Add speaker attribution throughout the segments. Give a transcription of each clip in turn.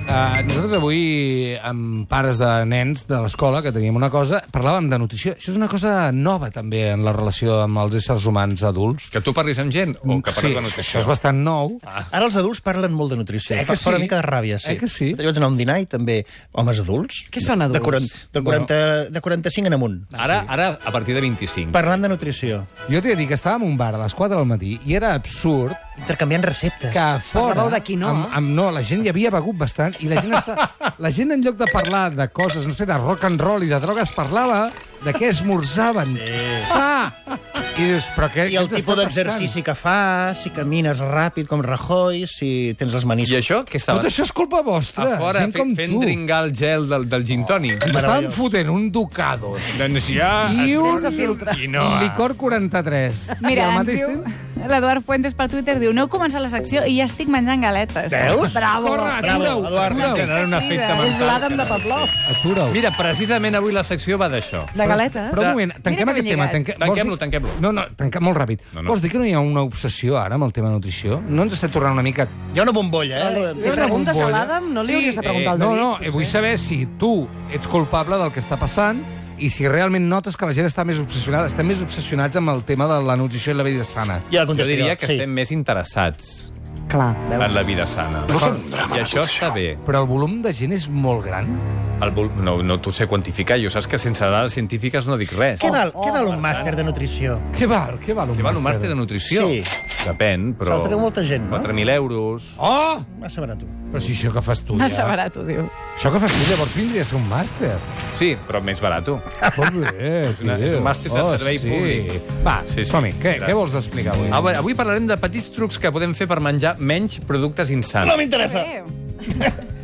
Speaker 1: Uh, nosaltres avui, amb pares de nens de l'escola, que teníem una cosa, parlàvem de nutrició. Això és una cosa nova, també, en la relació amb els éssers humans adults.
Speaker 2: Que tu parlis amb gent o Oh, que parles
Speaker 1: sí,
Speaker 2: de nutrició? Ah.
Speaker 1: això és bastant nou.
Speaker 3: Ara els adults parlen molt de nutrició.
Speaker 1: Eh
Speaker 3: Fa,
Speaker 1: que
Speaker 3: fa una
Speaker 1: sí?
Speaker 3: mica de ràbia, sí.
Speaker 1: Eh que sí?
Speaker 3: Jo vaig anar a un dinar i també homes adults.
Speaker 4: Què són adults?
Speaker 3: De, 40, de, 40, de 45 en amunt.
Speaker 2: Ara, ara, a partir de 25.
Speaker 3: Parlant de nutrició.
Speaker 1: Jo t'he de dir que estàvem a un bar a les 4 del matí i era absurd
Speaker 3: Intercanviant receptes.
Speaker 1: que a fora...
Speaker 4: Parlàveu de quinoa?
Speaker 1: Amb, amb, no, la gent ja havia begut bastant i la gent, està, la gent en lloc de parlar de coses, no sé, de rock and roll i de drogues, parlava de què esmorzaven. Sí. Sa! I dius, però què,
Speaker 3: I el
Speaker 1: què t'està
Speaker 3: tipus
Speaker 1: passant?
Speaker 3: d'exercici que fas, si camines ràpid com Rajoy, si tens les
Speaker 2: I
Speaker 3: menisques.
Speaker 2: això, què estava?
Speaker 1: Tot això és culpa
Speaker 2: A
Speaker 1: vostra,
Speaker 2: fora,
Speaker 1: gent
Speaker 2: fe,
Speaker 1: com
Speaker 2: fent
Speaker 1: tu.
Speaker 2: dringar el gel del, del gin tònic.
Speaker 1: Ens estàvem
Speaker 3: Meravellós.
Speaker 1: fotent un ducados
Speaker 2: Doncs ja...
Speaker 1: i un,
Speaker 4: Ah, Sense filtre.
Speaker 1: i no, un licor 43. I
Speaker 5: Mira,
Speaker 1: al
Speaker 5: ens
Speaker 1: mateix
Speaker 5: diu...
Speaker 1: temps...
Speaker 5: L'Eduard Fuentes per Twitter diu no heu començat la secció i ja estic menjant galetes.
Speaker 3: Veus?
Speaker 4: Bravo.
Speaker 1: Corre,
Speaker 3: Bravo,
Speaker 1: atura-ho,
Speaker 3: Eduard,
Speaker 1: atura-ho,
Speaker 2: Generar un efecte
Speaker 4: És
Speaker 2: mental.
Speaker 4: l'Adam de Pavlov,
Speaker 1: atura-ho.
Speaker 2: Mira, precisament avui la secció va d'això.
Speaker 4: de galeta. eh?
Speaker 1: Però un moment, tanquem
Speaker 5: Mira que
Speaker 1: aquest
Speaker 5: ben
Speaker 1: tema.
Speaker 5: lligat.
Speaker 1: Tanque... vols
Speaker 2: Tanquem-lo,
Speaker 1: dir-
Speaker 2: tanquem-lo.
Speaker 1: No, no, tanquem molt ràpid.
Speaker 2: No,
Speaker 1: No,
Speaker 2: no.
Speaker 1: no. Vols dir que no hi ha una obsessió ara amb el tema nutrició? No ens està tornant una mica...
Speaker 3: Jo una bombolla, eh?
Speaker 4: Li preguntes a
Speaker 1: bombolla.
Speaker 4: l'Adam? No li
Speaker 2: Sí,
Speaker 4: hauries de preguntar
Speaker 2: eh,
Speaker 4: al
Speaker 1: No,
Speaker 4: David?
Speaker 1: no,
Speaker 4: potser?
Speaker 1: vull saber si tu ets culpable del que està passant i si realment notes que la gent està més obsessionada, estem més obsessionats amb el tema de la nutrició i la vida sana.
Speaker 3: Ja la
Speaker 2: Jo
Speaker 3: contestaré.
Speaker 2: diria que
Speaker 3: Doncs sí.
Speaker 2: estem més interessats
Speaker 4: Clar, veus?
Speaker 2: en la vida sana. I això està bé.
Speaker 1: Però el volum de gent és molt gran.
Speaker 2: El vol... No, no t'ho sé quantificar. Jo saps que sense dades científiques no dic res.
Speaker 3: Què
Speaker 1: Oh,
Speaker 3: val, què val un màster de nutrició?
Speaker 1: Què val? Què val un
Speaker 2: Que val un màster de nutrició.
Speaker 3: Sí.
Speaker 2: Depèn, però...
Speaker 3: Se'l treu molta gent, no?
Speaker 2: 4.000 euros...
Speaker 1: Oh!
Speaker 3: Massa barat.
Speaker 1: Però si això que fas tu,
Speaker 5: Massa
Speaker 1: ja...
Speaker 5: barat, ho diu.
Speaker 1: Això que fas tu, llavors vindria a ser un màster.
Speaker 2: Sí, però més barat.
Speaker 1: Molt bé,
Speaker 2: una- és un màster de servei públic.
Speaker 1: Oh, Va,
Speaker 2: Sí,
Speaker 1: sí,
Speaker 2: sí.
Speaker 1: sí. Som-hi. Què,
Speaker 2: Gràcies.
Speaker 1: què vols explicar avui?
Speaker 2: Avui, avui parlarem de petits trucs que podem fer per menjar menys productes
Speaker 3: No
Speaker 2: insans.
Speaker 3: m'interessa.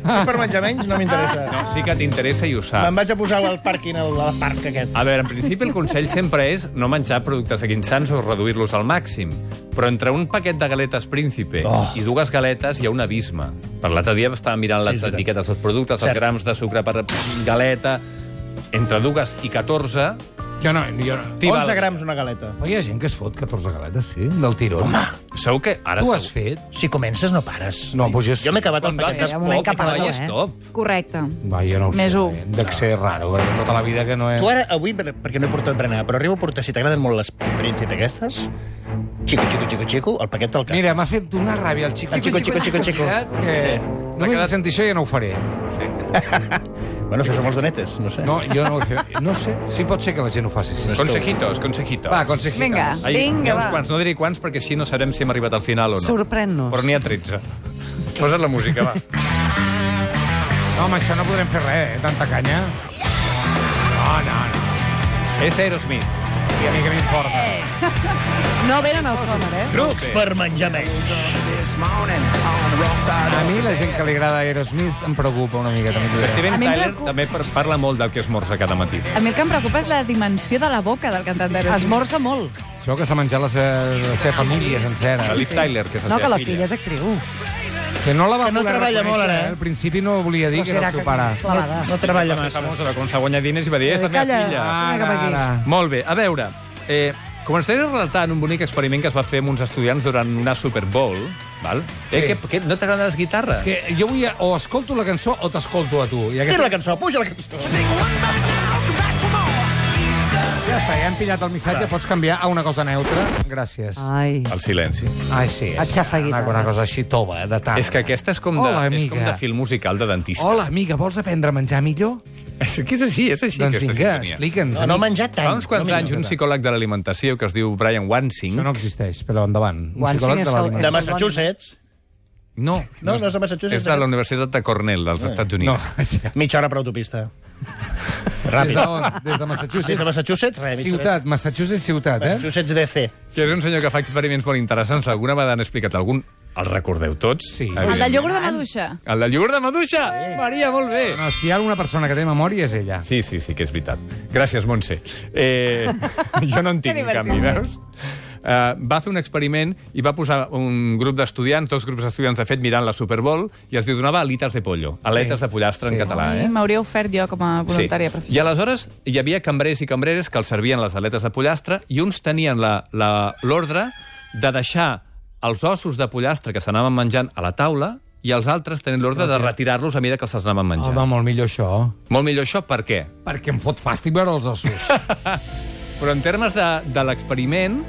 Speaker 3: Per menjar menys no m'interessa.
Speaker 2: No, sí que t'interessa i ho
Speaker 3: Me'n
Speaker 2: saps.
Speaker 3: vaig a posar al pàrquing, al, al parc aquest.
Speaker 2: A veure, en principi el consell sempre és no menjar productes insans o reduir-los al màxim. Però entre un paquet de galetes Príncipe
Speaker 3: Oh.
Speaker 2: i dues galetes hi ha un abisme. Per l'altre dia estava mirant les
Speaker 3: és veritat.
Speaker 2: etiquetes dels productes, els
Speaker 3: Cert.
Speaker 2: grams de sucre per galeta... Entre dues i 14...
Speaker 1: Jo no, jo no.
Speaker 2: t'hi val-
Speaker 3: 11 grams una galeta.
Speaker 1: Però hi ha gent que es fot 14 galetes, sí, del tiró. Home,
Speaker 2: Segur que ara...
Speaker 1: tu has
Speaker 2: segur-
Speaker 1: fet?
Speaker 3: Si comences, no pares.
Speaker 1: No, pues jo sí.
Speaker 3: Jo m'he acabat el
Speaker 2: Quan vas
Speaker 3: paquet.
Speaker 4: Hi ha un moment
Speaker 2: d'estop,
Speaker 4: que
Speaker 2: i
Speaker 4: parla,
Speaker 2: quan
Speaker 4: eh?
Speaker 2: stop.
Speaker 5: Correcte.
Speaker 1: Va, jo no ho
Speaker 5: Més
Speaker 1: sé.
Speaker 5: un.
Speaker 1: eh? Dec ser raro, perquè tota la vida que no és...
Speaker 3: Tu ara, avui, per- perquè no he portat berenar, però arribo a portar, si t'agraden molt les príncipes aquestes, xico, xico, xico, xico, el paquet del cas.
Speaker 1: Mira, m'ha fet una ràbia el xico,
Speaker 3: El xico, xico, xico, xico.
Speaker 1: Que... Només de
Speaker 2: quedat-
Speaker 1: sentir això ja no ho faré.
Speaker 3: Bueno, això són els donetes, no sé.
Speaker 1: No, jo no ho he fet. No sé, sí pot ser que la gent ho faci. Sí.
Speaker 2: Consejitos, consejitos.
Speaker 1: Va, consejitos.
Speaker 5: Vinga.
Speaker 2: Ai,
Speaker 4: Vinga,
Speaker 2: n'hi ha uns
Speaker 4: va.
Speaker 2: quants, no diré quants, perquè així no sabrem si hem arribat al final o no.
Speaker 4: Sorprèn-nos.
Speaker 2: Però n'hi ha 13. Posa't la música, va.
Speaker 1: No, amb això no podrem fer res, eh? Tanta canya. No, no, no.
Speaker 2: És Aerosmith.
Speaker 1: I a mi que m'importa.
Speaker 4: No venen al sonar, eh?
Speaker 3: Trucs per menjar menys.
Speaker 1: A mi la gent que li agrada Aerosmith em "Eh, preocupa una mica, també t'ho diré.
Speaker 2: Steven
Speaker 5: A mi em
Speaker 2: Tyler
Speaker 5: preocupa.
Speaker 2: també par- parla molt del que esmorza cada matí.
Speaker 5: A mi el que em preocupa és la dimensió de la boca del cantant de
Speaker 4: Esmorza molt.
Speaker 1: Es veu que s'ha menjat la seva, la seva família sencera.
Speaker 2: La Liv Tyler, que és la
Speaker 4: No, que
Speaker 2: seva
Speaker 4: la filla és actriu.
Speaker 1: Que no la va
Speaker 3: Que no
Speaker 1: voler
Speaker 3: treballa
Speaker 1: reconèixer,
Speaker 3: molt, ara, eh?
Speaker 1: Al principi no volia dir que era el seu pare.
Speaker 4: Clavada.
Speaker 3: No treballa
Speaker 2: Va ser
Speaker 3: massa.
Speaker 2: famosa de com se guanya diners i va dir, és la meva
Speaker 4: Calla.
Speaker 2: filla.
Speaker 4: Ah.
Speaker 1: Ara, ara.
Speaker 2: Molt bé, a veure... Eh, començaré relatant un bonic experiment que es va fer amb uns estudiants durant una Super Bowl. Val? Sí. Eh,
Speaker 1: Sí.
Speaker 2: que, que, no t'agraden les guitarres?
Speaker 1: És que jo vull... O escolto la cançó o t'escolto a tu. I
Speaker 3: Tira
Speaker 1: aquesta...
Speaker 3: la cançó, puja la cançó.
Speaker 1: Ja està, ja hem pillat el missatge, pots canviar a una cosa neutra. Gràcies.
Speaker 3: Ah.
Speaker 4: Ai.
Speaker 2: El silenci.
Speaker 1: Ai, sí. és
Speaker 4: Aixafa
Speaker 1: una,
Speaker 4: guitarres.
Speaker 1: una cosa així tova, eh, de tant.
Speaker 2: És que aquesta és com de,
Speaker 1: Hola,
Speaker 2: és com
Speaker 1: amiga.
Speaker 2: de film musical de dentista.
Speaker 1: Hola, amiga, vols aprendre a menjar millor?
Speaker 2: És que és així, és així.
Speaker 1: doncs
Speaker 2: aquesta
Speaker 1: vinga,
Speaker 2: sintonia.
Speaker 1: explica'ns.
Speaker 3: No, no menjar tant.
Speaker 2: Fa uns quants
Speaker 3: no
Speaker 2: anys, un psicòleg de l'alimentació que es diu Brian Wansing...
Speaker 1: Això no existeix, però endavant. Un
Speaker 4: Quan
Speaker 1: psicòleg
Speaker 4: sigues
Speaker 1: de
Speaker 4: el-
Speaker 1: l'aliment.
Speaker 3: De Massachusetts.
Speaker 2: no,
Speaker 3: No, no és de Massachusetts,
Speaker 2: És de
Speaker 3: aquest.
Speaker 2: la Universitat de Cornell, dels Estats
Speaker 1: Eh, No,
Speaker 2: Units.
Speaker 1: sí.
Speaker 3: Mitja hora per autopista.
Speaker 1: Des
Speaker 3: Ràpid.
Speaker 1: de on? Des de Massachusetts?
Speaker 3: Des de Massachusetts, res, mitja hora.
Speaker 1: Ciutat, Massachusetts ciutat, eh?
Speaker 3: Massachusetts DC.
Speaker 2: Sí, és un senyor que fa experiments molt interessants. Alguna vegada n'he explicat algun. El recordeu tots?
Speaker 1: Sí.
Speaker 2: evidentment.
Speaker 5: El de iogurt de maduixa.
Speaker 2: El del iogurt de maduixa! Maria, molt bé!
Speaker 1: No, si hi ha alguna persona que té memòria és ella.
Speaker 2: Sí, sí, sí, que és veritat. Gràcies, Montse. Eh, jo no en tinc,
Speaker 5: Que
Speaker 2: en canvi,
Speaker 5: divertit.
Speaker 2: veus? Uh, va fer un experiment i va posar un grup d'estudiants, dos grups d'estudiants, de fet, mirant la Super Bowl, i els donava alitas de pollo, aletes sí. de pollastre sí. en català, eh?
Speaker 5: I M'hauria ofert jo com a voluntària. per fer.
Speaker 2: I aleshores hi havia cambrers i cambreres que els servien les aletes de pollastre i uns tenien la- la- l'ordre de deixar els ossos de pollastre que s'anaven menjant a la taula i els altres tenen l'ordre de retirar-los a mesura que se'ls anaven menjant.
Speaker 1: Home, molt millor això.
Speaker 2: Molt millor això, per què?
Speaker 1: Perquè em fot fàstic veure els ossos.
Speaker 2: Però en termes de, de l'experiment,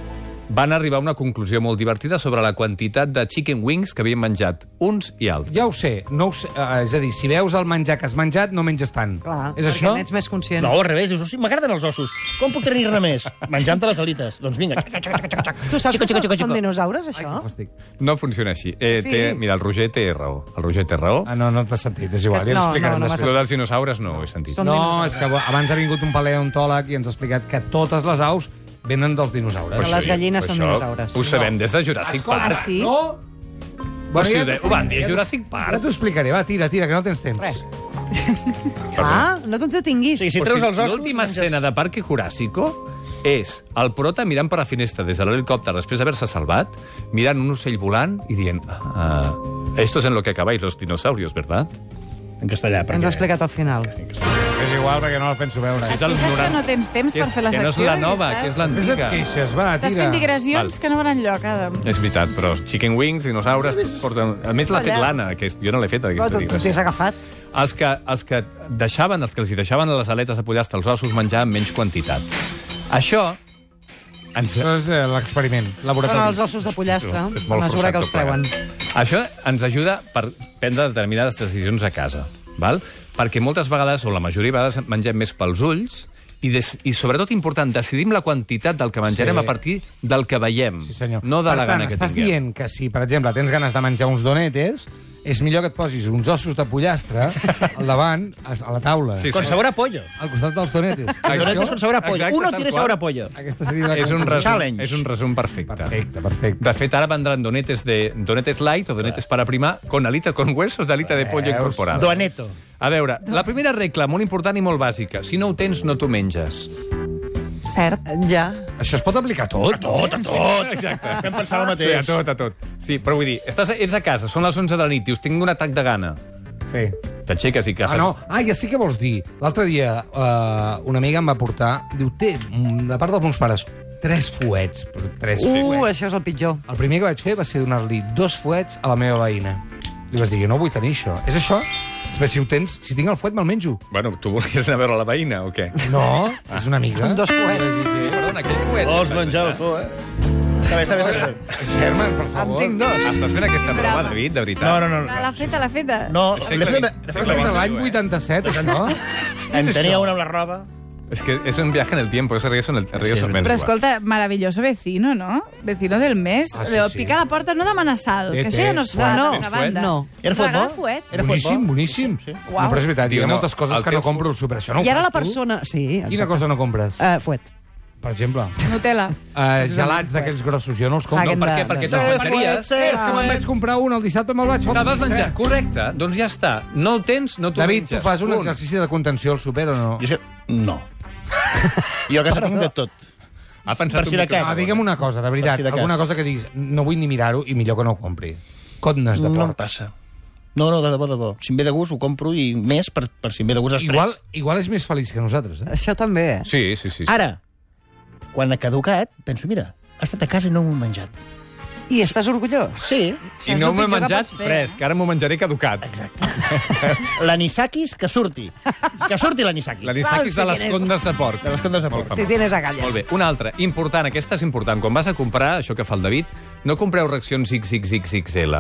Speaker 2: van arribar a una conclusió molt divertida sobre la quantitat de chicken wings que havien menjat uns i altres.
Speaker 1: Ja ho sé, no ho sé. eh, és a dir, si veus el menjar que has menjat, no menges tant.
Speaker 4: Clar,
Speaker 1: és
Speaker 4: perquè
Speaker 1: això?
Speaker 4: n'ets més conscient.
Speaker 3: No, al revés, dius, "Hosti, m'agraden els ossos. Com puc tenir-ne més? Menjant-te les alites. Doncs vinga.
Speaker 4: Tu saps
Speaker 3: Xico,
Speaker 4: que
Speaker 3: xico, xico,
Speaker 4: són, són
Speaker 3: xico.
Speaker 4: dinosaures, això?
Speaker 1: Que fàstic.
Speaker 2: No funciona així. Eh,
Speaker 4: Sí.
Speaker 2: sí. té, mira, el Roger té raó. El Roger té raó.
Speaker 1: Ah, no, no t'has sentit, és igual.
Speaker 4: Que-
Speaker 1: Ja
Speaker 4: no,
Speaker 1: l'explicarem
Speaker 4: no, no m'has
Speaker 1: després.
Speaker 2: Però dels dinosaures no ho he sentit.
Speaker 4: Són
Speaker 1: No,
Speaker 4: dinosaures.
Speaker 1: és que bo- abans ha vingut un paleontòleg i ens ha explicat que totes les aus venen dels dinosaures.
Speaker 2: Però
Speaker 4: les
Speaker 2: això-
Speaker 4: gallines
Speaker 2: però
Speaker 4: són
Speaker 2: això
Speaker 4: dinosaures.
Speaker 2: Ho sabem des de Jurassic
Speaker 1: Escolta,
Speaker 2: Park.
Speaker 5: sí?
Speaker 1: No?
Speaker 2: Però si ho
Speaker 1: t'ho
Speaker 2: de- ho van dir,
Speaker 1: t'ho-
Speaker 2: Jurassic Park.
Speaker 1: Ja t'ho explicaré, va, tira, tira, que no tens temps.
Speaker 4: Res. Ah, no t'entretinguis.
Speaker 3: Sí, sí. Si
Speaker 2: Però
Speaker 3: treus els ossos,
Speaker 2: L'última
Speaker 3: menges-
Speaker 2: escena de Parque Jurásico és el prota mirant per la finestra des de l'helicòpter després d'haver-se salvat, mirant un ocell volant i dient... Ah, esto es en lo que acabáis los dinosaurios, ¿verdad?
Speaker 3: En castellà, perquè...
Speaker 4: Ens ha explicat al final.
Speaker 1: És igual, perquè no el penso veure.
Speaker 2: És
Speaker 5: Et
Speaker 2: dels
Speaker 5: queixes que
Speaker 2: 90.
Speaker 5: no tens temps
Speaker 2: Que
Speaker 5: per
Speaker 2: és-
Speaker 5: fer la
Speaker 2: Que no és
Speaker 5: secció?
Speaker 2: la nova,
Speaker 5: estàs-
Speaker 2: que és
Speaker 1: Més et
Speaker 2: l'antiga.
Speaker 1: queixes, va,
Speaker 5: Estàs
Speaker 1: tira.
Speaker 5: fent digressions
Speaker 2: Val.
Speaker 5: que no van enlloc, Adam.
Speaker 2: És veritat, però chicken wings, dinosaures... Tot porten... A més, l'ha fet
Speaker 4: Allà.
Speaker 2: l'Anna, que jo no l'he fet,
Speaker 4: No,
Speaker 2: aquesta
Speaker 4: tu, tu
Speaker 2: digressió.
Speaker 4: t'has agafat.
Speaker 2: Els que, els que deixaven, els que els hi deixaven a les aletes de pollastre, els ossos, menjar en menys quantitat. Això ens,
Speaker 1: Això és eh, l'experiment,
Speaker 4: Són els
Speaker 1: laboratori.
Speaker 4: ossos de pollastre,
Speaker 2: És
Speaker 4: a
Speaker 2: molt
Speaker 4: mesura
Speaker 2: forçat
Speaker 4: que els
Speaker 2: tot
Speaker 4: treuen.
Speaker 2: plegat. Això ens ajuda per prendre determinades decisions a casa, val? perquè moltes vegades, o la majoria de vegades, mengem més pels ulls i, des, i sobretot important, decidim la quantitat del que menjarem
Speaker 1: Sí.
Speaker 2: sí. a partir del que veiem,
Speaker 1: Sí, senyor.
Speaker 2: no de
Speaker 1: per
Speaker 2: la
Speaker 1: tant,
Speaker 2: gana que
Speaker 1: estàs
Speaker 2: tinguem.
Speaker 1: dient que si, per exemple, tens ganes de menjar uns donetes, és millor que et posis uns ossos de pollastre al davant, a a la taula,
Speaker 2: Sí,
Speaker 1: sí,
Speaker 2: sí.
Speaker 3: Con sabor a pollo.
Speaker 1: al costat dels donetes.
Speaker 3: Los donetes con sabor a pollo.
Speaker 2: Exacte,
Speaker 3: Uno
Speaker 2: tal
Speaker 3: tiene
Speaker 2: qual.
Speaker 3: sabor a pollo.
Speaker 1: Aquesta seria la
Speaker 2: És un,
Speaker 1: conclusió.
Speaker 2: resum,
Speaker 3: Challenge.
Speaker 2: és un resum perfecte.
Speaker 1: Perfecte, perfecte.
Speaker 2: De fet, ara vendran donetes, de, donetes light o donetes para prima con alita, con huesos de alita de pollo
Speaker 1: Veus?
Speaker 2: incorporada.
Speaker 3: Doaneto.
Speaker 2: A veure, la primera regla, molt important i molt bàsica. Si no ho tens, no t'ho menges.
Speaker 5: Cert.
Speaker 4: Eh, Ja.
Speaker 1: Això es pot aplicar a tot?
Speaker 3: Tot, a tot.
Speaker 2: Exacte.
Speaker 3: Estem pensant el
Speaker 2: Sí, a
Speaker 3: mateix.
Speaker 2: tot, a tot. Sí, però vull dir, estàs, ets a casa, són les 11 de la nit, dius, tinc un atac de gana.
Speaker 1: Sí.
Speaker 2: T'aixeques i que
Speaker 1: Ah,
Speaker 2: fas-
Speaker 1: no. Ah, ja sé què vols dir. L'altre dia eh, una amiga em va portar... Diu, té, mm, de part dels meus pares, tres fuets. Però tres
Speaker 4: Uh,
Speaker 1: fuets.
Speaker 4: això és el pitjor.
Speaker 1: El primer que vaig fer va ser donar-li dos fuets a la meva veïna. Li vas dir, jo no vull tenir això. És això? Bé, si ho tens, si tinc el fuet, me'l menjo.
Speaker 2: Bueno, tu volies anar a veure la veïna o què?
Speaker 1: No, és una amiga.
Speaker 4: Amb dos poets.
Speaker 2: Perdona, aquell fuet...
Speaker 3: Vols menjar el fo, eh? Està bé, està bé, està bé.
Speaker 1: German, per
Speaker 4: En
Speaker 1: favor.
Speaker 4: tinc dos.
Speaker 2: Estàs fent aquesta broma,
Speaker 5: Brava.
Speaker 2: David, de veritat?
Speaker 3: No, no, no.
Speaker 5: Va, L'ha feta, l'ha feta.
Speaker 3: No,
Speaker 2: És
Speaker 3: l'he
Speaker 2: segle
Speaker 3: fet...
Speaker 2: XX,
Speaker 1: Però
Speaker 2: segle
Speaker 1: és de
Speaker 2: XX,
Speaker 1: l'any
Speaker 2: eh?
Speaker 1: 87, això, no?
Speaker 3: En tenia una amb la roba.
Speaker 2: És que és un viaje en el tiempo, és regreso en el regreso
Speaker 3: Sí,
Speaker 2: al
Speaker 3: és
Speaker 2: menys.
Speaker 5: Però escolta, maravilloso vecino, no? Vecino del mes.
Speaker 1: Ah,
Speaker 5: Ah,
Speaker 1: sí,
Speaker 5: sí,
Speaker 1: sí.
Speaker 5: Pica a la porta, no demana sal,
Speaker 1: Eh,
Speaker 5: que
Speaker 1: té,
Speaker 5: això ja no es fa,
Speaker 4: no,
Speaker 5: d'altra banda.
Speaker 4: no.
Speaker 3: Era
Speaker 5: Regalar
Speaker 3: futbol?
Speaker 5: fuet.
Speaker 3: Era
Speaker 1: Boníssim,
Speaker 3: futbol?
Speaker 1: boníssim.
Speaker 3: Sí, sí.
Speaker 1: No, però és veritat,
Speaker 2: Diu,
Speaker 1: hi ha
Speaker 2: no,
Speaker 1: moltes coses
Speaker 2: el
Speaker 1: que no
Speaker 2: teu
Speaker 1: compro al súper. Això no ho
Speaker 4: I ara
Speaker 1: fas
Speaker 4: la
Speaker 1: tu?
Speaker 4: persona... Sí, exacte.
Speaker 1: Quina cosa no compres?
Speaker 4: Eh, fuet.
Speaker 1: Per exemple,
Speaker 5: eh, Nutella.
Speaker 1: uh, gelats d'aquells grossos, jo no els compro.
Speaker 2: No,
Speaker 4: Hagen
Speaker 2: per què?
Speaker 4: de-
Speaker 2: Perquè
Speaker 4: de-
Speaker 2: te'ls
Speaker 3: Eh,
Speaker 2: menjaries.
Speaker 3: fuet,
Speaker 1: És que me'n vaig comprar un el dissabte, me'l vaig fotre.
Speaker 2: Te'l vas menjar, correcte. Doncs ja està. No el tens, no t'ho
Speaker 1: David,
Speaker 2: menges.
Speaker 1: tu fas un
Speaker 2: Punt.
Speaker 1: exercici de contenció al súper o no?
Speaker 3: Jo és que... No. Jo a casa tinc de tot.
Speaker 2: Ha pensat
Speaker 3: Per si de
Speaker 2: micro-
Speaker 3: cas.
Speaker 1: Ah, digue'm una cosa, de veritat,
Speaker 3: Per si de cas.
Speaker 1: alguna cosa que diguis no vull ni mirar-ho i millor que no ho compri. Cotnes de
Speaker 3: No em
Speaker 1: porc.
Speaker 3: passa. No, no, de debò, de debò. Si em ve de gust, ho compro i més per, per si em ve de gust després.
Speaker 1: igual, igual és més feliç que nosaltres, eh?
Speaker 4: Això també, eh?
Speaker 2: Sí, sí, sí.
Speaker 5: Ah,
Speaker 2: sí.
Speaker 3: Ara, quan ha caducat, penso, mira, ha estat a casa i no m'ho he menjat.
Speaker 4: I estàs orgullós?
Speaker 3: Sí.
Speaker 5: Això
Speaker 2: I
Speaker 5: és
Speaker 2: no
Speaker 5: lo
Speaker 2: m'he
Speaker 5: pitjor que
Speaker 2: menjat
Speaker 5: pots fer,
Speaker 2: fresc, ara m'ho menjaré caducat.
Speaker 3: L'anisakis, que surti. Que surti l'anisakis.
Speaker 2: L'anisakis de les condes de porc.
Speaker 3: De les condes de
Speaker 2: Molt
Speaker 3: porc.
Speaker 2: famós.
Speaker 4: Si tienes agalles.
Speaker 2: Molt bé. Una altra, important, aquesta és important. Quan vas a comprar, això que fa el David, no compreu reaccions XXXXL.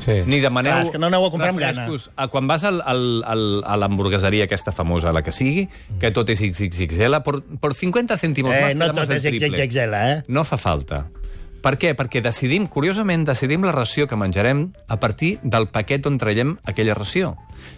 Speaker 1: Sí.
Speaker 2: Ni demaneu...
Speaker 3: Clar, és que no aneu a comprar amb
Speaker 2: refrescos. Ah, Quan vas al, al, al, a l'hamburgueseria aquesta famosa, la que sigui, que tot és XXXL, por, por 50 cèntimos
Speaker 3: Eh,
Speaker 2: más
Speaker 3: no
Speaker 2: te damos
Speaker 3: tot
Speaker 2: el
Speaker 3: és
Speaker 2: triple.
Speaker 3: XXXL, eh?
Speaker 2: No fa falta. Per què? Perquè decidim, curiosament, decidim la ració que menjarem a partir del paquet on traiem aquella ració.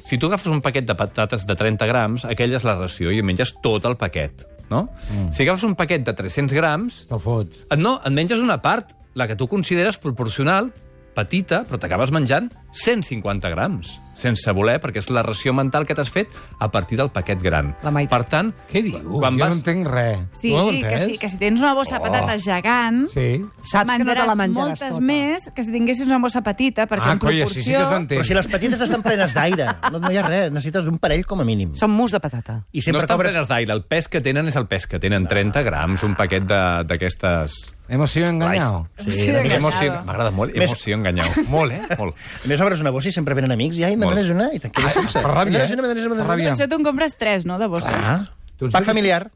Speaker 2: Si tu agafes un paquet de patates de 30 grams, aquella és la ració i menges tot el paquet, no? Mm. Si agafes un paquet de 300 grams,
Speaker 1: Te'l fots.
Speaker 2: et- no, et menges una part, la que tu consideres proporcional, petita, però t'acabes menjant 150 grams. sense voler, perquè és la ració mental que t'has fet a partir del paquet gran.
Speaker 4: La meitat.
Speaker 2: Per tant...
Speaker 1: Què diu?
Speaker 2: Quan
Speaker 1: jo
Speaker 2: vas...
Speaker 1: no entenc res.
Speaker 5: Sí,
Speaker 1: Tu ho
Speaker 5: que
Speaker 1: entens?
Speaker 5: sí, que si tens una bossa de patates gegant,
Speaker 1: Sí.
Speaker 4: Saps que no te la
Speaker 5: menjaràs
Speaker 4: menjaràs
Speaker 5: moltes
Speaker 4: tota.
Speaker 5: més que si tinguessis una bossa petita, perquè
Speaker 1: Ah,
Speaker 5: en
Speaker 1: coi,
Speaker 5: proporció...
Speaker 1: així sí que s'entén.
Speaker 3: Però si les petites estan plenes d'aire, no, no hi ha res, necessites un parell com a mínim.
Speaker 4: Són mus de patata.
Speaker 3: I
Speaker 2: No
Speaker 3: sempre
Speaker 2: estan
Speaker 3: cobres...
Speaker 2: plenes d'aire, el pes que tenen és el pes que tenen, 30 grams, un paquet de- d'aquestes...
Speaker 1: Hemos sido engañados.
Speaker 5: Sí,
Speaker 3: una mica.
Speaker 5: Enganyado.
Speaker 2: Hemos sido- M'agrada molt,
Speaker 3: Més-
Speaker 2: hemos sido enganyado. molt, eh? Molt.
Speaker 3: A més, obres una bossa i sempre venen amics i ai, me
Speaker 2: Molt.
Speaker 3: dones una i te'n quedes sense.
Speaker 1: per ràbia,
Speaker 3: Me dones
Speaker 1: eh? Doncs
Speaker 3: una, me dones una, me
Speaker 1: Per
Speaker 3: dones
Speaker 1: ràbia.
Speaker 5: Per això te'n compres tres, no?, de
Speaker 3: una.
Speaker 5: bosses.
Speaker 3: Ah,
Speaker 1: Tu ens
Speaker 3: pack
Speaker 1: dius-
Speaker 3: familiar.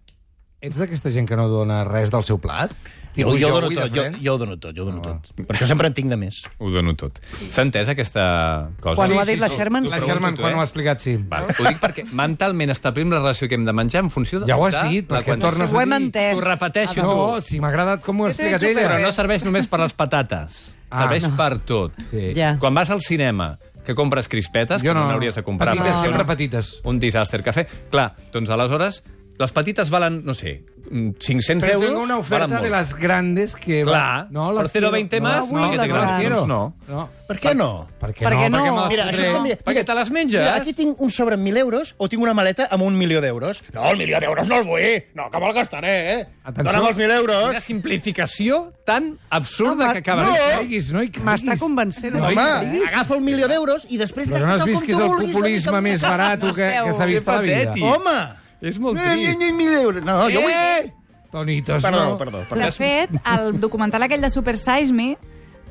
Speaker 1: Ets d'aquesta gent que no dona res del seu plat?
Speaker 3: Jo,
Speaker 1: Tipus
Speaker 3: jo, dono
Speaker 1: avui de
Speaker 3: tot, jo,
Speaker 1: Friends?
Speaker 3: jo ho dono tot, jo ho
Speaker 1: Ah.
Speaker 3: dono tot. Per això sempre en tinc de més.
Speaker 2: Ho dono tot. S'ha entès aquesta cosa?
Speaker 4: Quan ho ha dit la Sherman,
Speaker 1: La
Speaker 2: Ho pregunto
Speaker 1: Sherman,
Speaker 2: tu,
Speaker 1: quan
Speaker 2: eh?
Speaker 1: ho ha explicat, sí.
Speaker 2: Vale. Ho dic perquè mentalment establim la ració que hem de menjar en funció de...
Speaker 1: Ja ho has
Speaker 2: de
Speaker 1: dit,
Speaker 2: la
Speaker 1: perquè
Speaker 2: quantitat.
Speaker 1: tornes
Speaker 4: Ho
Speaker 1: a
Speaker 4: hem
Speaker 1: dir.
Speaker 4: entès. Ah,
Speaker 2: T'ho repeteixo,
Speaker 1: No,
Speaker 2: tu.
Speaker 1: si m'ha agradat com ho ha
Speaker 5: Jo t'he dit
Speaker 1: explicat ella.
Speaker 2: Però
Speaker 5: superbé.
Speaker 2: no serveix només per les patates.
Speaker 1: Ah,
Speaker 2: serveix
Speaker 1: no.
Speaker 2: per tot.
Speaker 1: Sí.
Speaker 4: Ja.
Speaker 2: Quan vas al cinema, que compres crispetes,
Speaker 1: Jo
Speaker 2: que no
Speaker 1: no.
Speaker 2: n'hauries de comprar.
Speaker 1: Petites,
Speaker 2: perquè
Speaker 1: sempre
Speaker 2: no.
Speaker 1: petites.
Speaker 2: Un desastre que fer. Clar, doncs aleshores, les petites valen, no sé, mm, 500
Speaker 1: Pero
Speaker 2: euros.
Speaker 1: tengo una oferta
Speaker 2: valen
Speaker 1: de
Speaker 2: molt.
Speaker 1: las grandes que... va-
Speaker 2: Clar,
Speaker 1: las
Speaker 2: por 0,20
Speaker 1: quiero.
Speaker 2: más,
Speaker 1: No,
Speaker 4: no,
Speaker 1: no,
Speaker 4: que
Speaker 1: no,
Speaker 4: te
Speaker 1: las
Speaker 4: ganes.
Speaker 1: quiero.
Speaker 2: No.
Speaker 1: no.
Speaker 3: Per què no?
Speaker 1: Perquè, no, perquè
Speaker 4: Perquè no.
Speaker 1: me les
Speaker 4: Mira,
Speaker 1: fotré.
Speaker 3: és com dir,
Speaker 2: Perquè te les menges.
Speaker 3: Mira, aquí tinc un sobre amb 1.000 euros o tinc una maleta amb un milió d'euros. No, el milió d'euros no el vull. No, que me'l gastaré, eh?
Speaker 1: Atenció.
Speaker 3: Dóna'm els 1.000
Speaker 2: Quina
Speaker 3: euros.
Speaker 2: simplificació tan absurda
Speaker 4: No,
Speaker 2: que
Speaker 4: ma-
Speaker 2: acabes
Speaker 1: No
Speaker 2: de
Speaker 1: hi
Speaker 2: fer.
Speaker 1: caiguis, no hi caiguis.
Speaker 4: M'està convencent.
Speaker 1: No,
Speaker 4: No,
Speaker 3: Home,
Speaker 1: eh?
Speaker 3: agafa un milió d'euros i després
Speaker 1: Però no
Speaker 3: gasta-te'l
Speaker 1: has
Speaker 3: com
Speaker 1: vist que és
Speaker 3: tu
Speaker 1: el
Speaker 3: vulguis,
Speaker 1: populisme
Speaker 3: amic,
Speaker 1: més
Speaker 3: amic.
Speaker 1: barat que, que s'ha
Speaker 2: Que
Speaker 1: vist a la
Speaker 2: patètic.
Speaker 1: vida.
Speaker 3: Home!
Speaker 2: És molt
Speaker 3: Eh, eh,
Speaker 2: trist.
Speaker 3: eh, 1.000 euros. No, jo vull...
Speaker 1: Eh! Tonitos,
Speaker 3: Perdó,
Speaker 1: no.
Speaker 3: perdó,
Speaker 5: De
Speaker 3: perdó.
Speaker 5: fet, el documental aquell de Super Size Me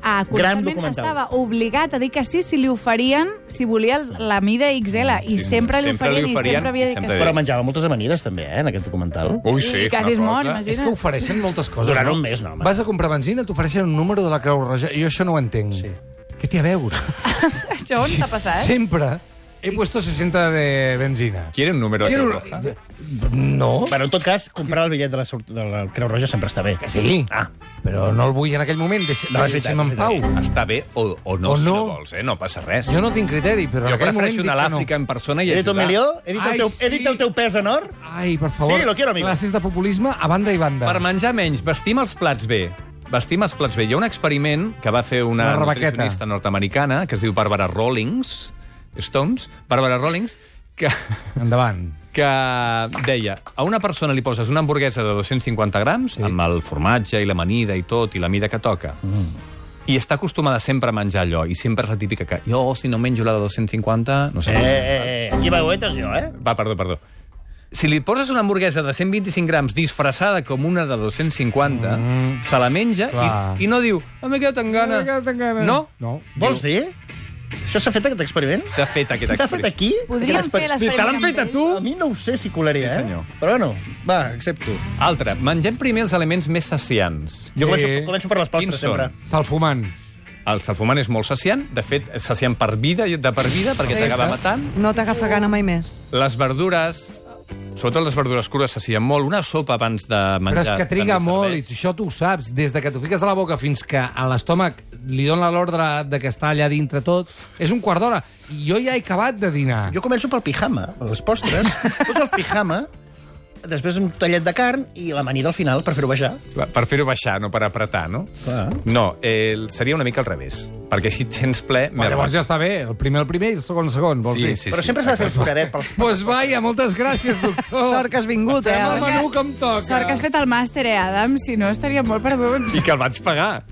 Speaker 5: a
Speaker 3: Gran
Speaker 5: constantment
Speaker 3: documental.
Speaker 5: estava obligat a dir que sí si li oferien, si volia la mida XL,
Speaker 2: Sí,
Speaker 5: i sempre li
Speaker 2: sempre li
Speaker 5: oferien, i
Speaker 2: oferien,
Speaker 5: sempre havia
Speaker 2: i
Speaker 5: dit que
Speaker 2: sempre
Speaker 5: sí.
Speaker 3: Però menjava moltes amanides, també, eh, en aquest documental.
Speaker 2: Ui,
Speaker 5: I quasi es mor, imagina't.
Speaker 1: És que ofereixen moltes coses.
Speaker 3: Durant
Speaker 1: no?
Speaker 3: un mes, no, home.
Speaker 1: Vas a comprar benzina, t'ofereixen un número de la Creu Roja. Jo això no ho entenc. Sí. Què té a veure?
Speaker 5: Això on t'ha passat? eh?
Speaker 1: Sempre he puesto 60 de benzina.
Speaker 2: Quiere un número de
Speaker 1: Quiero-
Speaker 2: Creu Roja?
Speaker 1: No,
Speaker 3: Però, en tot cas, comprar el bitllet de la, sort- de la Creu Roja sempre està bé.
Speaker 1: que sí.
Speaker 3: Ah.
Speaker 1: Però no el vull en aquell moment. Deixi,
Speaker 3: No, és veritat,
Speaker 1: deixi'm en
Speaker 3: és
Speaker 1: pau.
Speaker 3: veritat.
Speaker 2: Està bé o, o no,
Speaker 1: O
Speaker 2: si no
Speaker 1: no.
Speaker 2: vols, eh? No passa res.
Speaker 1: Jo no tinc criteri, però
Speaker 2: jo
Speaker 1: en aquell moment
Speaker 2: prefereixo
Speaker 1: dic
Speaker 2: anar a
Speaker 1: que
Speaker 2: l'Àfrica
Speaker 1: no.
Speaker 2: en persona i
Speaker 3: He dit un
Speaker 2: ajudar.
Speaker 3: milió? He dit,
Speaker 1: Ai,
Speaker 3: el teu, he
Speaker 1: sí.
Speaker 3: dit el teu pes en or?
Speaker 1: Ai, per favor,
Speaker 3: Sí, lo quiero, amigo.
Speaker 1: classes de populisme a banda i banda.
Speaker 2: Per menjar menys, vestim els plats bé. Vestim els plats bé. Hi ha un experiment que va fer una,
Speaker 1: Una rebaqueta.
Speaker 2: nutricionista nord-americana que es diu Barbara Rawlings, Stones, Barbara Rawlings, que,
Speaker 1: Endavant.
Speaker 2: que deia, a una persona li poses una hamburguesa de 250 grams, sí. amb el formatge i l'amanida i tot, i la mida que toca, mm. i està acostumada sempre a menjar allò, i sempre és la típica que jo, si no menjo la de 250, no sé,
Speaker 3: Eh,
Speaker 2: eh.
Speaker 3: eh, eh, aquí va goetes jo, eh?
Speaker 2: Va, perdó, perdó. Si li poses una hamburguesa de 125 grams disfressada com una de 250, mm. se la menja
Speaker 1: Clar.
Speaker 2: i, i no diu oh, m'he quedat amb gana.
Speaker 1: M'he quedat amb gana.
Speaker 2: No?
Speaker 1: No.
Speaker 3: Vols dir? Això s'ha fet, aquest experiment?
Speaker 2: S'ha fet aquest
Speaker 3: S'ha fet aquí?
Speaker 5: Podríem
Speaker 3: Aquest
Speaker 5: fer
Speaker 3: exper-
Speaker 5: l'experiment.
Speaker 2: Te l'han fet a tu?
Speaker 3: A mi no ho sé si colaria,
Speaker 2: Sí,
Speaker 3: eh?
Speaker 2: senyor.
Speaker 3: Però bueno, va, accepto.
Speaker 2: Altre, mengem primer els aliments més saciants.
Speaker 1: Sí.
Speaker 3: Jo començo, començo per les
Speaker 2: Quins
Speaker 3: postres,
Speaker 2: són?
Speaker 3: sempre.
Speaker 1: Salfumant.
Speaker 2: El salfumant és molt saciant, de fet, és saciant per vida, de per vida, perquè t'acaba matant.
Speaker 4: no t'agafa gana mai més.
Speaker 2: Les verdures, sobretot les verdures crues, s'assien molt. Una sopa abans de
Speaker 1: Però
Speaker 2: menjar...
Speaker 1: és que triga
Speaker 2: també
Speaker 1: molt, i
Speaker 2: serveix.
Speaker 1: això tu ho saps. Des de que t'ho fiques a la boca fins que a l'estómac li dona l'ordre de que està allà dintre tot, és un quart d'hora. I Jo ja he acabat de dinar.
Speaker 2: Ah.
Speaker 3: Jo començo pel pijama, per les postres. Tots el pijama, després un tallet de carn i l'amanida al final per fer-ho baixar.
Speaker 2: Clar, Per fer-ho baixar, no per apretar, no?
Speaker 3: Clar.
Speaker 2: No, eh, seria una mica al revés, perquè així tens ple...
Speaker 1: Però llavors ja està bé. El primer, el primer i el segon, el segon. Vols
Speaker 2: Sí,
Speaker 1: dir?
Speaker 2: sí,
Speaker 3: Però sempre s'ha de fer el foradet pels...
Speaker 1: Pues vaja, moltes gràcies, doctor.
Speaker 4: Sort que has vingut, eh?
Speaker 1: Fem el menú que em toca.
Speaker 5: Sort que has fet el màster, eh, Adam? Si no, estaria molt perdut.
Speaker 2: I que el vaig pagar.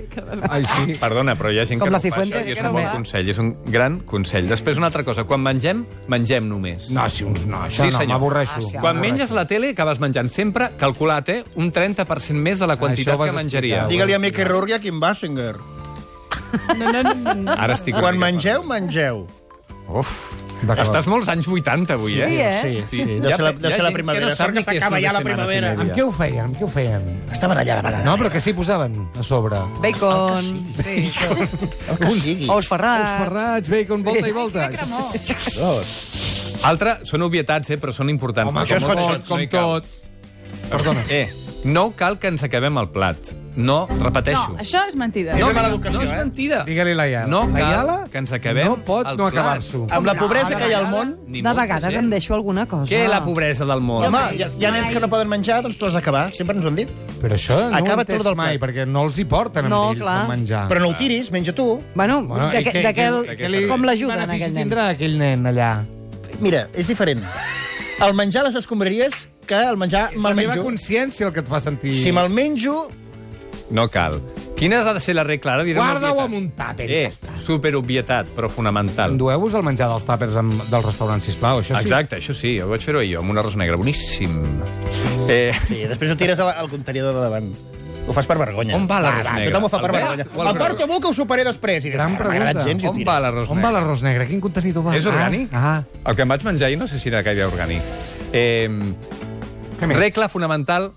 Speaker 1: Ai, sí.
Speaker 2: Perdona, però hi ha gent
Speaker 4: Com
Speaker 2: que no
Speaker 4: la
Speaker 2: ho fa,
Speaker 4: Cifuentes,
Speaker 2: això, i és
Speaker 5: que
Speaker 2: un
Speaker 5: no
Speaker 2: bon
Speaker 5: va.
Speaker 2: consell, és un gran consell. Després, una altra cosa, quan mengem, mengem només.
Speaker 1: No, si uns no, això
Speaker 2: Sí,
Speaker 1: no,
Speaker 2: senyor.
Speaker 1: m'avorreixo.
Speaker 4: Ah, sí,
Speaker 2: Quan menges la tele, acabes menjant sempre, calculat, eh, un 30% més de la
Speaker 1: això
Speaker 2: quantitat
Speaker 1: ho vas
Speaker 2: que menjaria.
Speaker 1: explicar.
Speaker 3: Digue-li a Mickey Rourke i a Kim Basinger.
Speaker 5: No, no, no, no.
Speaker 2: Ara estic... una
Speaker 3: Quan
Speaker 2: mica-
Speaker 3: mengeu, mengeu.
Speaker 2: Uf,
Speaker 1: D'acord.
Speaker 2: estàs molts anys 80 avui, eh?
Speaker 4: Sí, eh?
Speaker 3: sí. Deu ser la,
Speaker 2: Hi ha
Speaker 3: deu ser
Speaker 2: gent
Speaker 3: la
Speaker 2: que
Speaker 3: primavera.
Speaker 2: no sap
Speaker 3: Sort
Speaker 2: ni
Speaker 3: que
Speaker 2: què és
Speaker 3: s'acaba
Speaker 2: una
Speaker 3: ja la
Speaker 2: setmana
Speaker 3: primavera.
Speaker 2: sense
Speaker 1: Amb què ho feien? Amb què ho feien?
Speaker 3: Estaven allà de vegades.
Speaker 1: No, però que s'hi posaven a sobre.
Speaker 4: Bacon, sí.
Speaker 3: El que sigui.
Speaker 4: ous ferrats.
Speaker 1: Els ferrats, bacon, volta i volta.
Speaker 5: Ai, quina cremor.
Speaker 2: Altra, són obvietats, eh, però són importants.
Speaker 1: Home,
Speaker 2: Com
Speaker 1: això és
Speaker 2: tot,
Speaker 1: com,
Speaker 2: no
Speaker 1: com
Speaker 2: hi cal.
Speaker 1: tot. Perdona.
Speaker 2: Eh, no cal que ens acabem el plat. No, repeteixo.
Speaker 5: No, això és mentida.
Speaker 3: No,
Speaker 2: no,
Speaker 3: de mala
Speaker 2: no,
Speaker 3: educació,
Speaker 2: no és
Speaker 3: eh?
Speaker 2: mentida.
Speaker 1: Digue-li la Iala.
Speaker 2: No
Speaker 1: la
Speaker 2: cal
Speaker 1: Iala
Speaker 2: que ens acabem
Speaker 1: No pot
Speaker 2: el
Speaker 1: no
Speaker 2: plat.
Speaker 1: acabar-s'ho.
Speaker 3: Amb la pobresa que hi ha al món...
Speaker 2: Ni
Speaker 4: De
Speaker 2: molta
Speaker 4: vegades
Speaker 2: gent.
Speaker 4: em deixo alguna cosa.
Speaker 2: Què la pobresa del món?
Speaker 3: Home, hi ha, hi ha nens que no poden menjar, doncs tu has d'acabar. Sempre ens ho han dit.
Speaker 1: Però això no
Speaker 3: Acaba
Speaker 1: Acaba ho he
Speaker 3: tot
Speaker 1: entès
Speaker 3: del
Speaker 1: mai,
Speaker 3: plat.
Speaker 1: perquè no els hi porten amb
Speaker 4: No,
Speaker 1: ells
Speaker 4: clar.
Speaker 1: el
Speaker 2: Ah,
Speaker 1: menjar.
Speaker 3: Però no ho tiris, menja tu.
Speaker 4: Bueno,
Speaker 1: Bueno,
Speaker 4: bueno
Speaker 1: i
Speaker 4: de,
Speaker 1: què-
Speaker 4: de, de,
Speaker 1: què-
Speaker 4: de,
Speaker 2: què
Speaker 4: de,
Speaker 2: li-
Speaker 4: com l'ajuden,
Speaker 1: Quin benefici
Speaker 4: aquell nen?
Speaker 1: tindrà aquell nen allà?
Speaker 3: Mira, és diferent. El menjar a les escombraries que el menjar
Speaker 1: És la
Speaker 3: me'l
Speaker 1: meva
Speaker 3: menjo.
Speaker 1: consciència el que et fa sentir...
Speaker 3: Si me'l menjo,
Speaker 2: No cal. Quina ha de ser la regla? Ara diré una
Speaker 1: Guarda-ho
Speaker 2: obvietat.
Speaker 1: amb un tàper i ja està.
Speaker 2: Eh, superobvietat, però fonamental.
Speaker 1: Endueu-vos el menjar dels tàpers amb, del restaurant, sisplau. Això sí.
Speaker 2: Exacte, això sí, ho vaig fer-ho jo, amb un arròs negre boníssim. Eh,
Speaker 3: sí, després ho tires al, al contenidor de davant. Ho fas per vergonya.
Speaker 2: On va l'arròs
Speaker 3: va,
Speaker 2: negre?
Speaker 3: Tothom ho fa per
Speaker 2: Al
Speaker 3: vergonya.
Speaker 2: verd o al
Speaker 3: Em porto molt que ho superé després. I
Speaker 1: Gran
Speaker 3: no m'agrada
Speaker 1: pregunta.
Speaker 3: gens, i ho
Speaker 2: on
Speaker 3: tires.
Speaker 2: va l'arròs
Speaker 1: On
Speaker 2: negre?
Speaker 1: va l'arròs negre? Quin contenidor va?
Speaker 2: És orgànic?
Speaker 1: Ah,
Speaker 2: El que em vaig menjar ahir no sé si era gaire orgànic. Eh,
Speaker 1: ah. Què més?
Speaker 2: regla fonamental,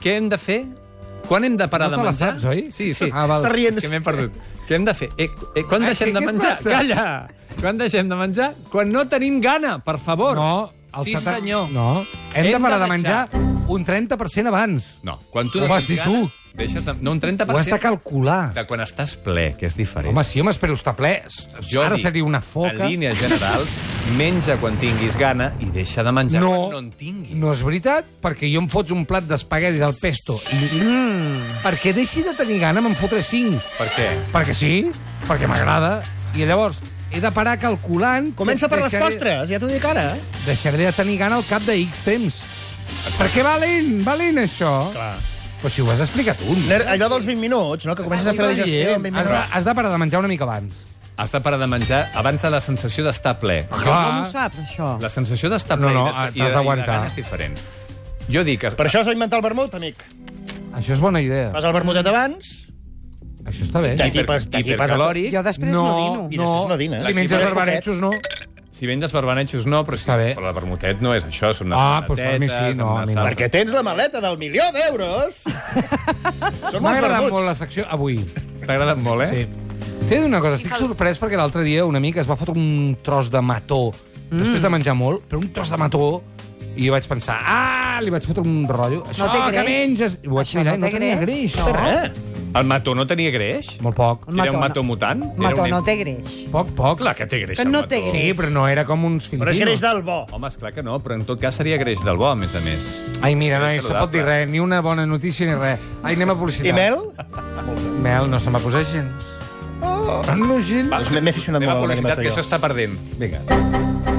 Speaker 2: què hem de fer? Quan hem de parar
Speaker 1: No te
Speaker 2: de
Speaker 1: la
Speaker 2: menjar?
Speaker 1: saps, oi?
Speaker 2: Sí, sí.
Speaker 1: Ah, val.
Speaker 3: Està rient.
Speaker 2: És que m'he perdut. Què hem de fer? Eh, eh, quan
Speaker 1: Ai,
Speaker 2: deixem
Speaker 1: què-
Speaker 2: de
Speaker 1: què et
Speaker 2: menjar?
Speaker 1: passa?
Speaker 2: Calla! Quan deixem de menjar? Quan no tenim gana, per favor.
Speaker 1: No, el
Speaker 2: sí,
Speaker 1: setanta-
Speaker 2: senyor.
Speaker 1: No. Hem,
Speaker 2: Hem
Speaker 1: de parar de
Speaker 2: de
Speaker 1: menjar
Speaker 2: deixar-
Speaker 1: un 30% abans.
Speaker 2: No, quan tu
Speaker 1: Ho vas dir tu.
Speaker 2: Deixes de... No,
Speaker 1: Ho
Speaker 2: un
Speaker 1: has de
Speaker 2: 30%
Speaker 1: calcular.
Speaker 2: de quan estàs ple, que és diferent.
Speaker 1: Home, si jo m'espero estar ple, s-
Speaker 2: Jo
Speaker 1: ara
Speaker 2: dic,
Speaker 1: seria una foca.
Speaker 2: En línies generals, menja quan tinguis gana i deixa de menjar quan no en tinguis.
Speaker 1: no és veritat, perquè jo em fots un plat d'espaguetis al pesto. I, mm, perquè deixi de tenir gana, me'n fotré cinc.
Speaker 2: Per què?
Speaker 1: Perquè sí, perquè m'agrada. I llavors he de parar calculant...
Speaker 3: Comença per les
Speaker 1: Deixaré-
Speaker 3: postres, ja t'ho dic ara. eh?
Speaker 1: Deixaré de tenir gana al cap de X temps. Perquè va lent, va lent, això.
Speaker 3: Clar.
Speaker 1: Però si ho has explicat tu.
Speaker 3: Ner- Allò dels 20 minuts, no? Que comences a fer la gestió en 20
Speaker 1: Has de,
Speaker 3: minuts.
Speaker 1: has de parar de menjar una mica abans.
Speaker 2: Has de parar de menjar abans de la sensació d'estar ple.
Speaker 4: Com ho saps, això?
Speaker 2: La sensació d'estar
Speaker 1: No,
Speaker 2: ple
Speaker 1: no,
Speaker 2: i de- i de-
Speaker 1: t'has
Speaker 2: i de
Speaker 1: d'aguantar.
Speaker 2: gana és diferent. Jo dic... Que...
Speaker 3: Per això es va inventar el vermut, amic.
Speaker 1: Això és bona idea.
Speaker 3: Fas el vermutet abans,
Speaker 1: Això està bé.
Speaker 3: Ja. T'atipes- t'atipes-
Speaker 2: hipercalòric.
Speaker 4: Jo després no,
Speaker 1: No,
Speaker 4: dino.
Speaker 3: I després no dines.
Speaker 1: Si menges
Speaker 3: Després
Speaker 1: barbarejos, no.
Speaker 2: Si venges barbanetxos, no, però, si,
Speaker 1: Està bé.
Speaker 2: però la vermutet no és això, són unes
Speaker 1: Ah, doncs per mi sí,
Speaker 2: patatetes,
Speaker 1: no,
Speaker 2: amb
Speaker 1: a mi
Speaker 2: una
Speaker 1: no.
Speaker 2: salsa.
Speaker 3: perquè tens la maleta del milió d'euros. Són
Speaker 1: M'ha
Speaker 3: molts
Speaker 1: agradat molt
Speaker 3: vermuts.
Speaker 1: la secció avui.
Speaker 2: T'ha agradat molt, eh?
Speaker 1: Sí. T'he de dir una cosa, estic sorprès perquè l'altre dia un amic es va fotre un tros de mató mm. després de menjar molt, però un tros de mató i jo vaig pensar, ah, li vaig fotre un rotllo. Això
Speaker 4: No té
Speaker 1: que
Speaker 4: greix.
Speaker 1: menges... I ho vaig
Speaker 4: Això
Speaker 1: mirar
Speaker 4: no
Speaker 1: i no
Speaker 4: té
Speaker 1: tenia
Speaker 4: greix.
Speaker 1: greix.
Speaker 4: No.
Speaker 3: Eh?
Speaker 2: El mató no tenia greix?
Speaker 1: Molt poc.
Speaker 4: Un mató,
Speaker 2: Era un
Speaker 4: no.
Speaker 2: mató mutant? era
Speaker 4: Mató,
Speaker 2: un...
Speaker 4: no té greix.
Speaker 1: Poc, poc.
Speaker 2: Clar que té greix,
Speaker 4: Que
Speaker 2: el
Speaker 4: no
Speaker 2: mató.
Speaker 4: té greix.
Speaker 1: Sí, però no era com uns
Speaker 3: Però
Speaker 1: filipins.
Speaker 3: és greix del bo.
Speaker 2: Home, esclar que no, però en tot cas seria greix del bo, a més a més.
Speaker 1: Ai, mira, no,
Speaker 2: Greix
Speaker 1: se pot dir
Speaker 2: saludable.
Speaker 1: res, ni una bona notícia ni res. Ai, anem a publicitat.
Speaker 3: I mel?
Speaker 1: Mel no se m'ha posat gens. Oh. No, gens.
Speaker 2: Va,
Speaker 3: Doncs m'he aficionat
Speaker 2: anem a
Speaker 3: molt a
Speaker 2: publicitat,
Speaker 3: l'animator,
Speaker 2: que
Speaker 3: jo.
Speaker 2: això està perdent. Vinga.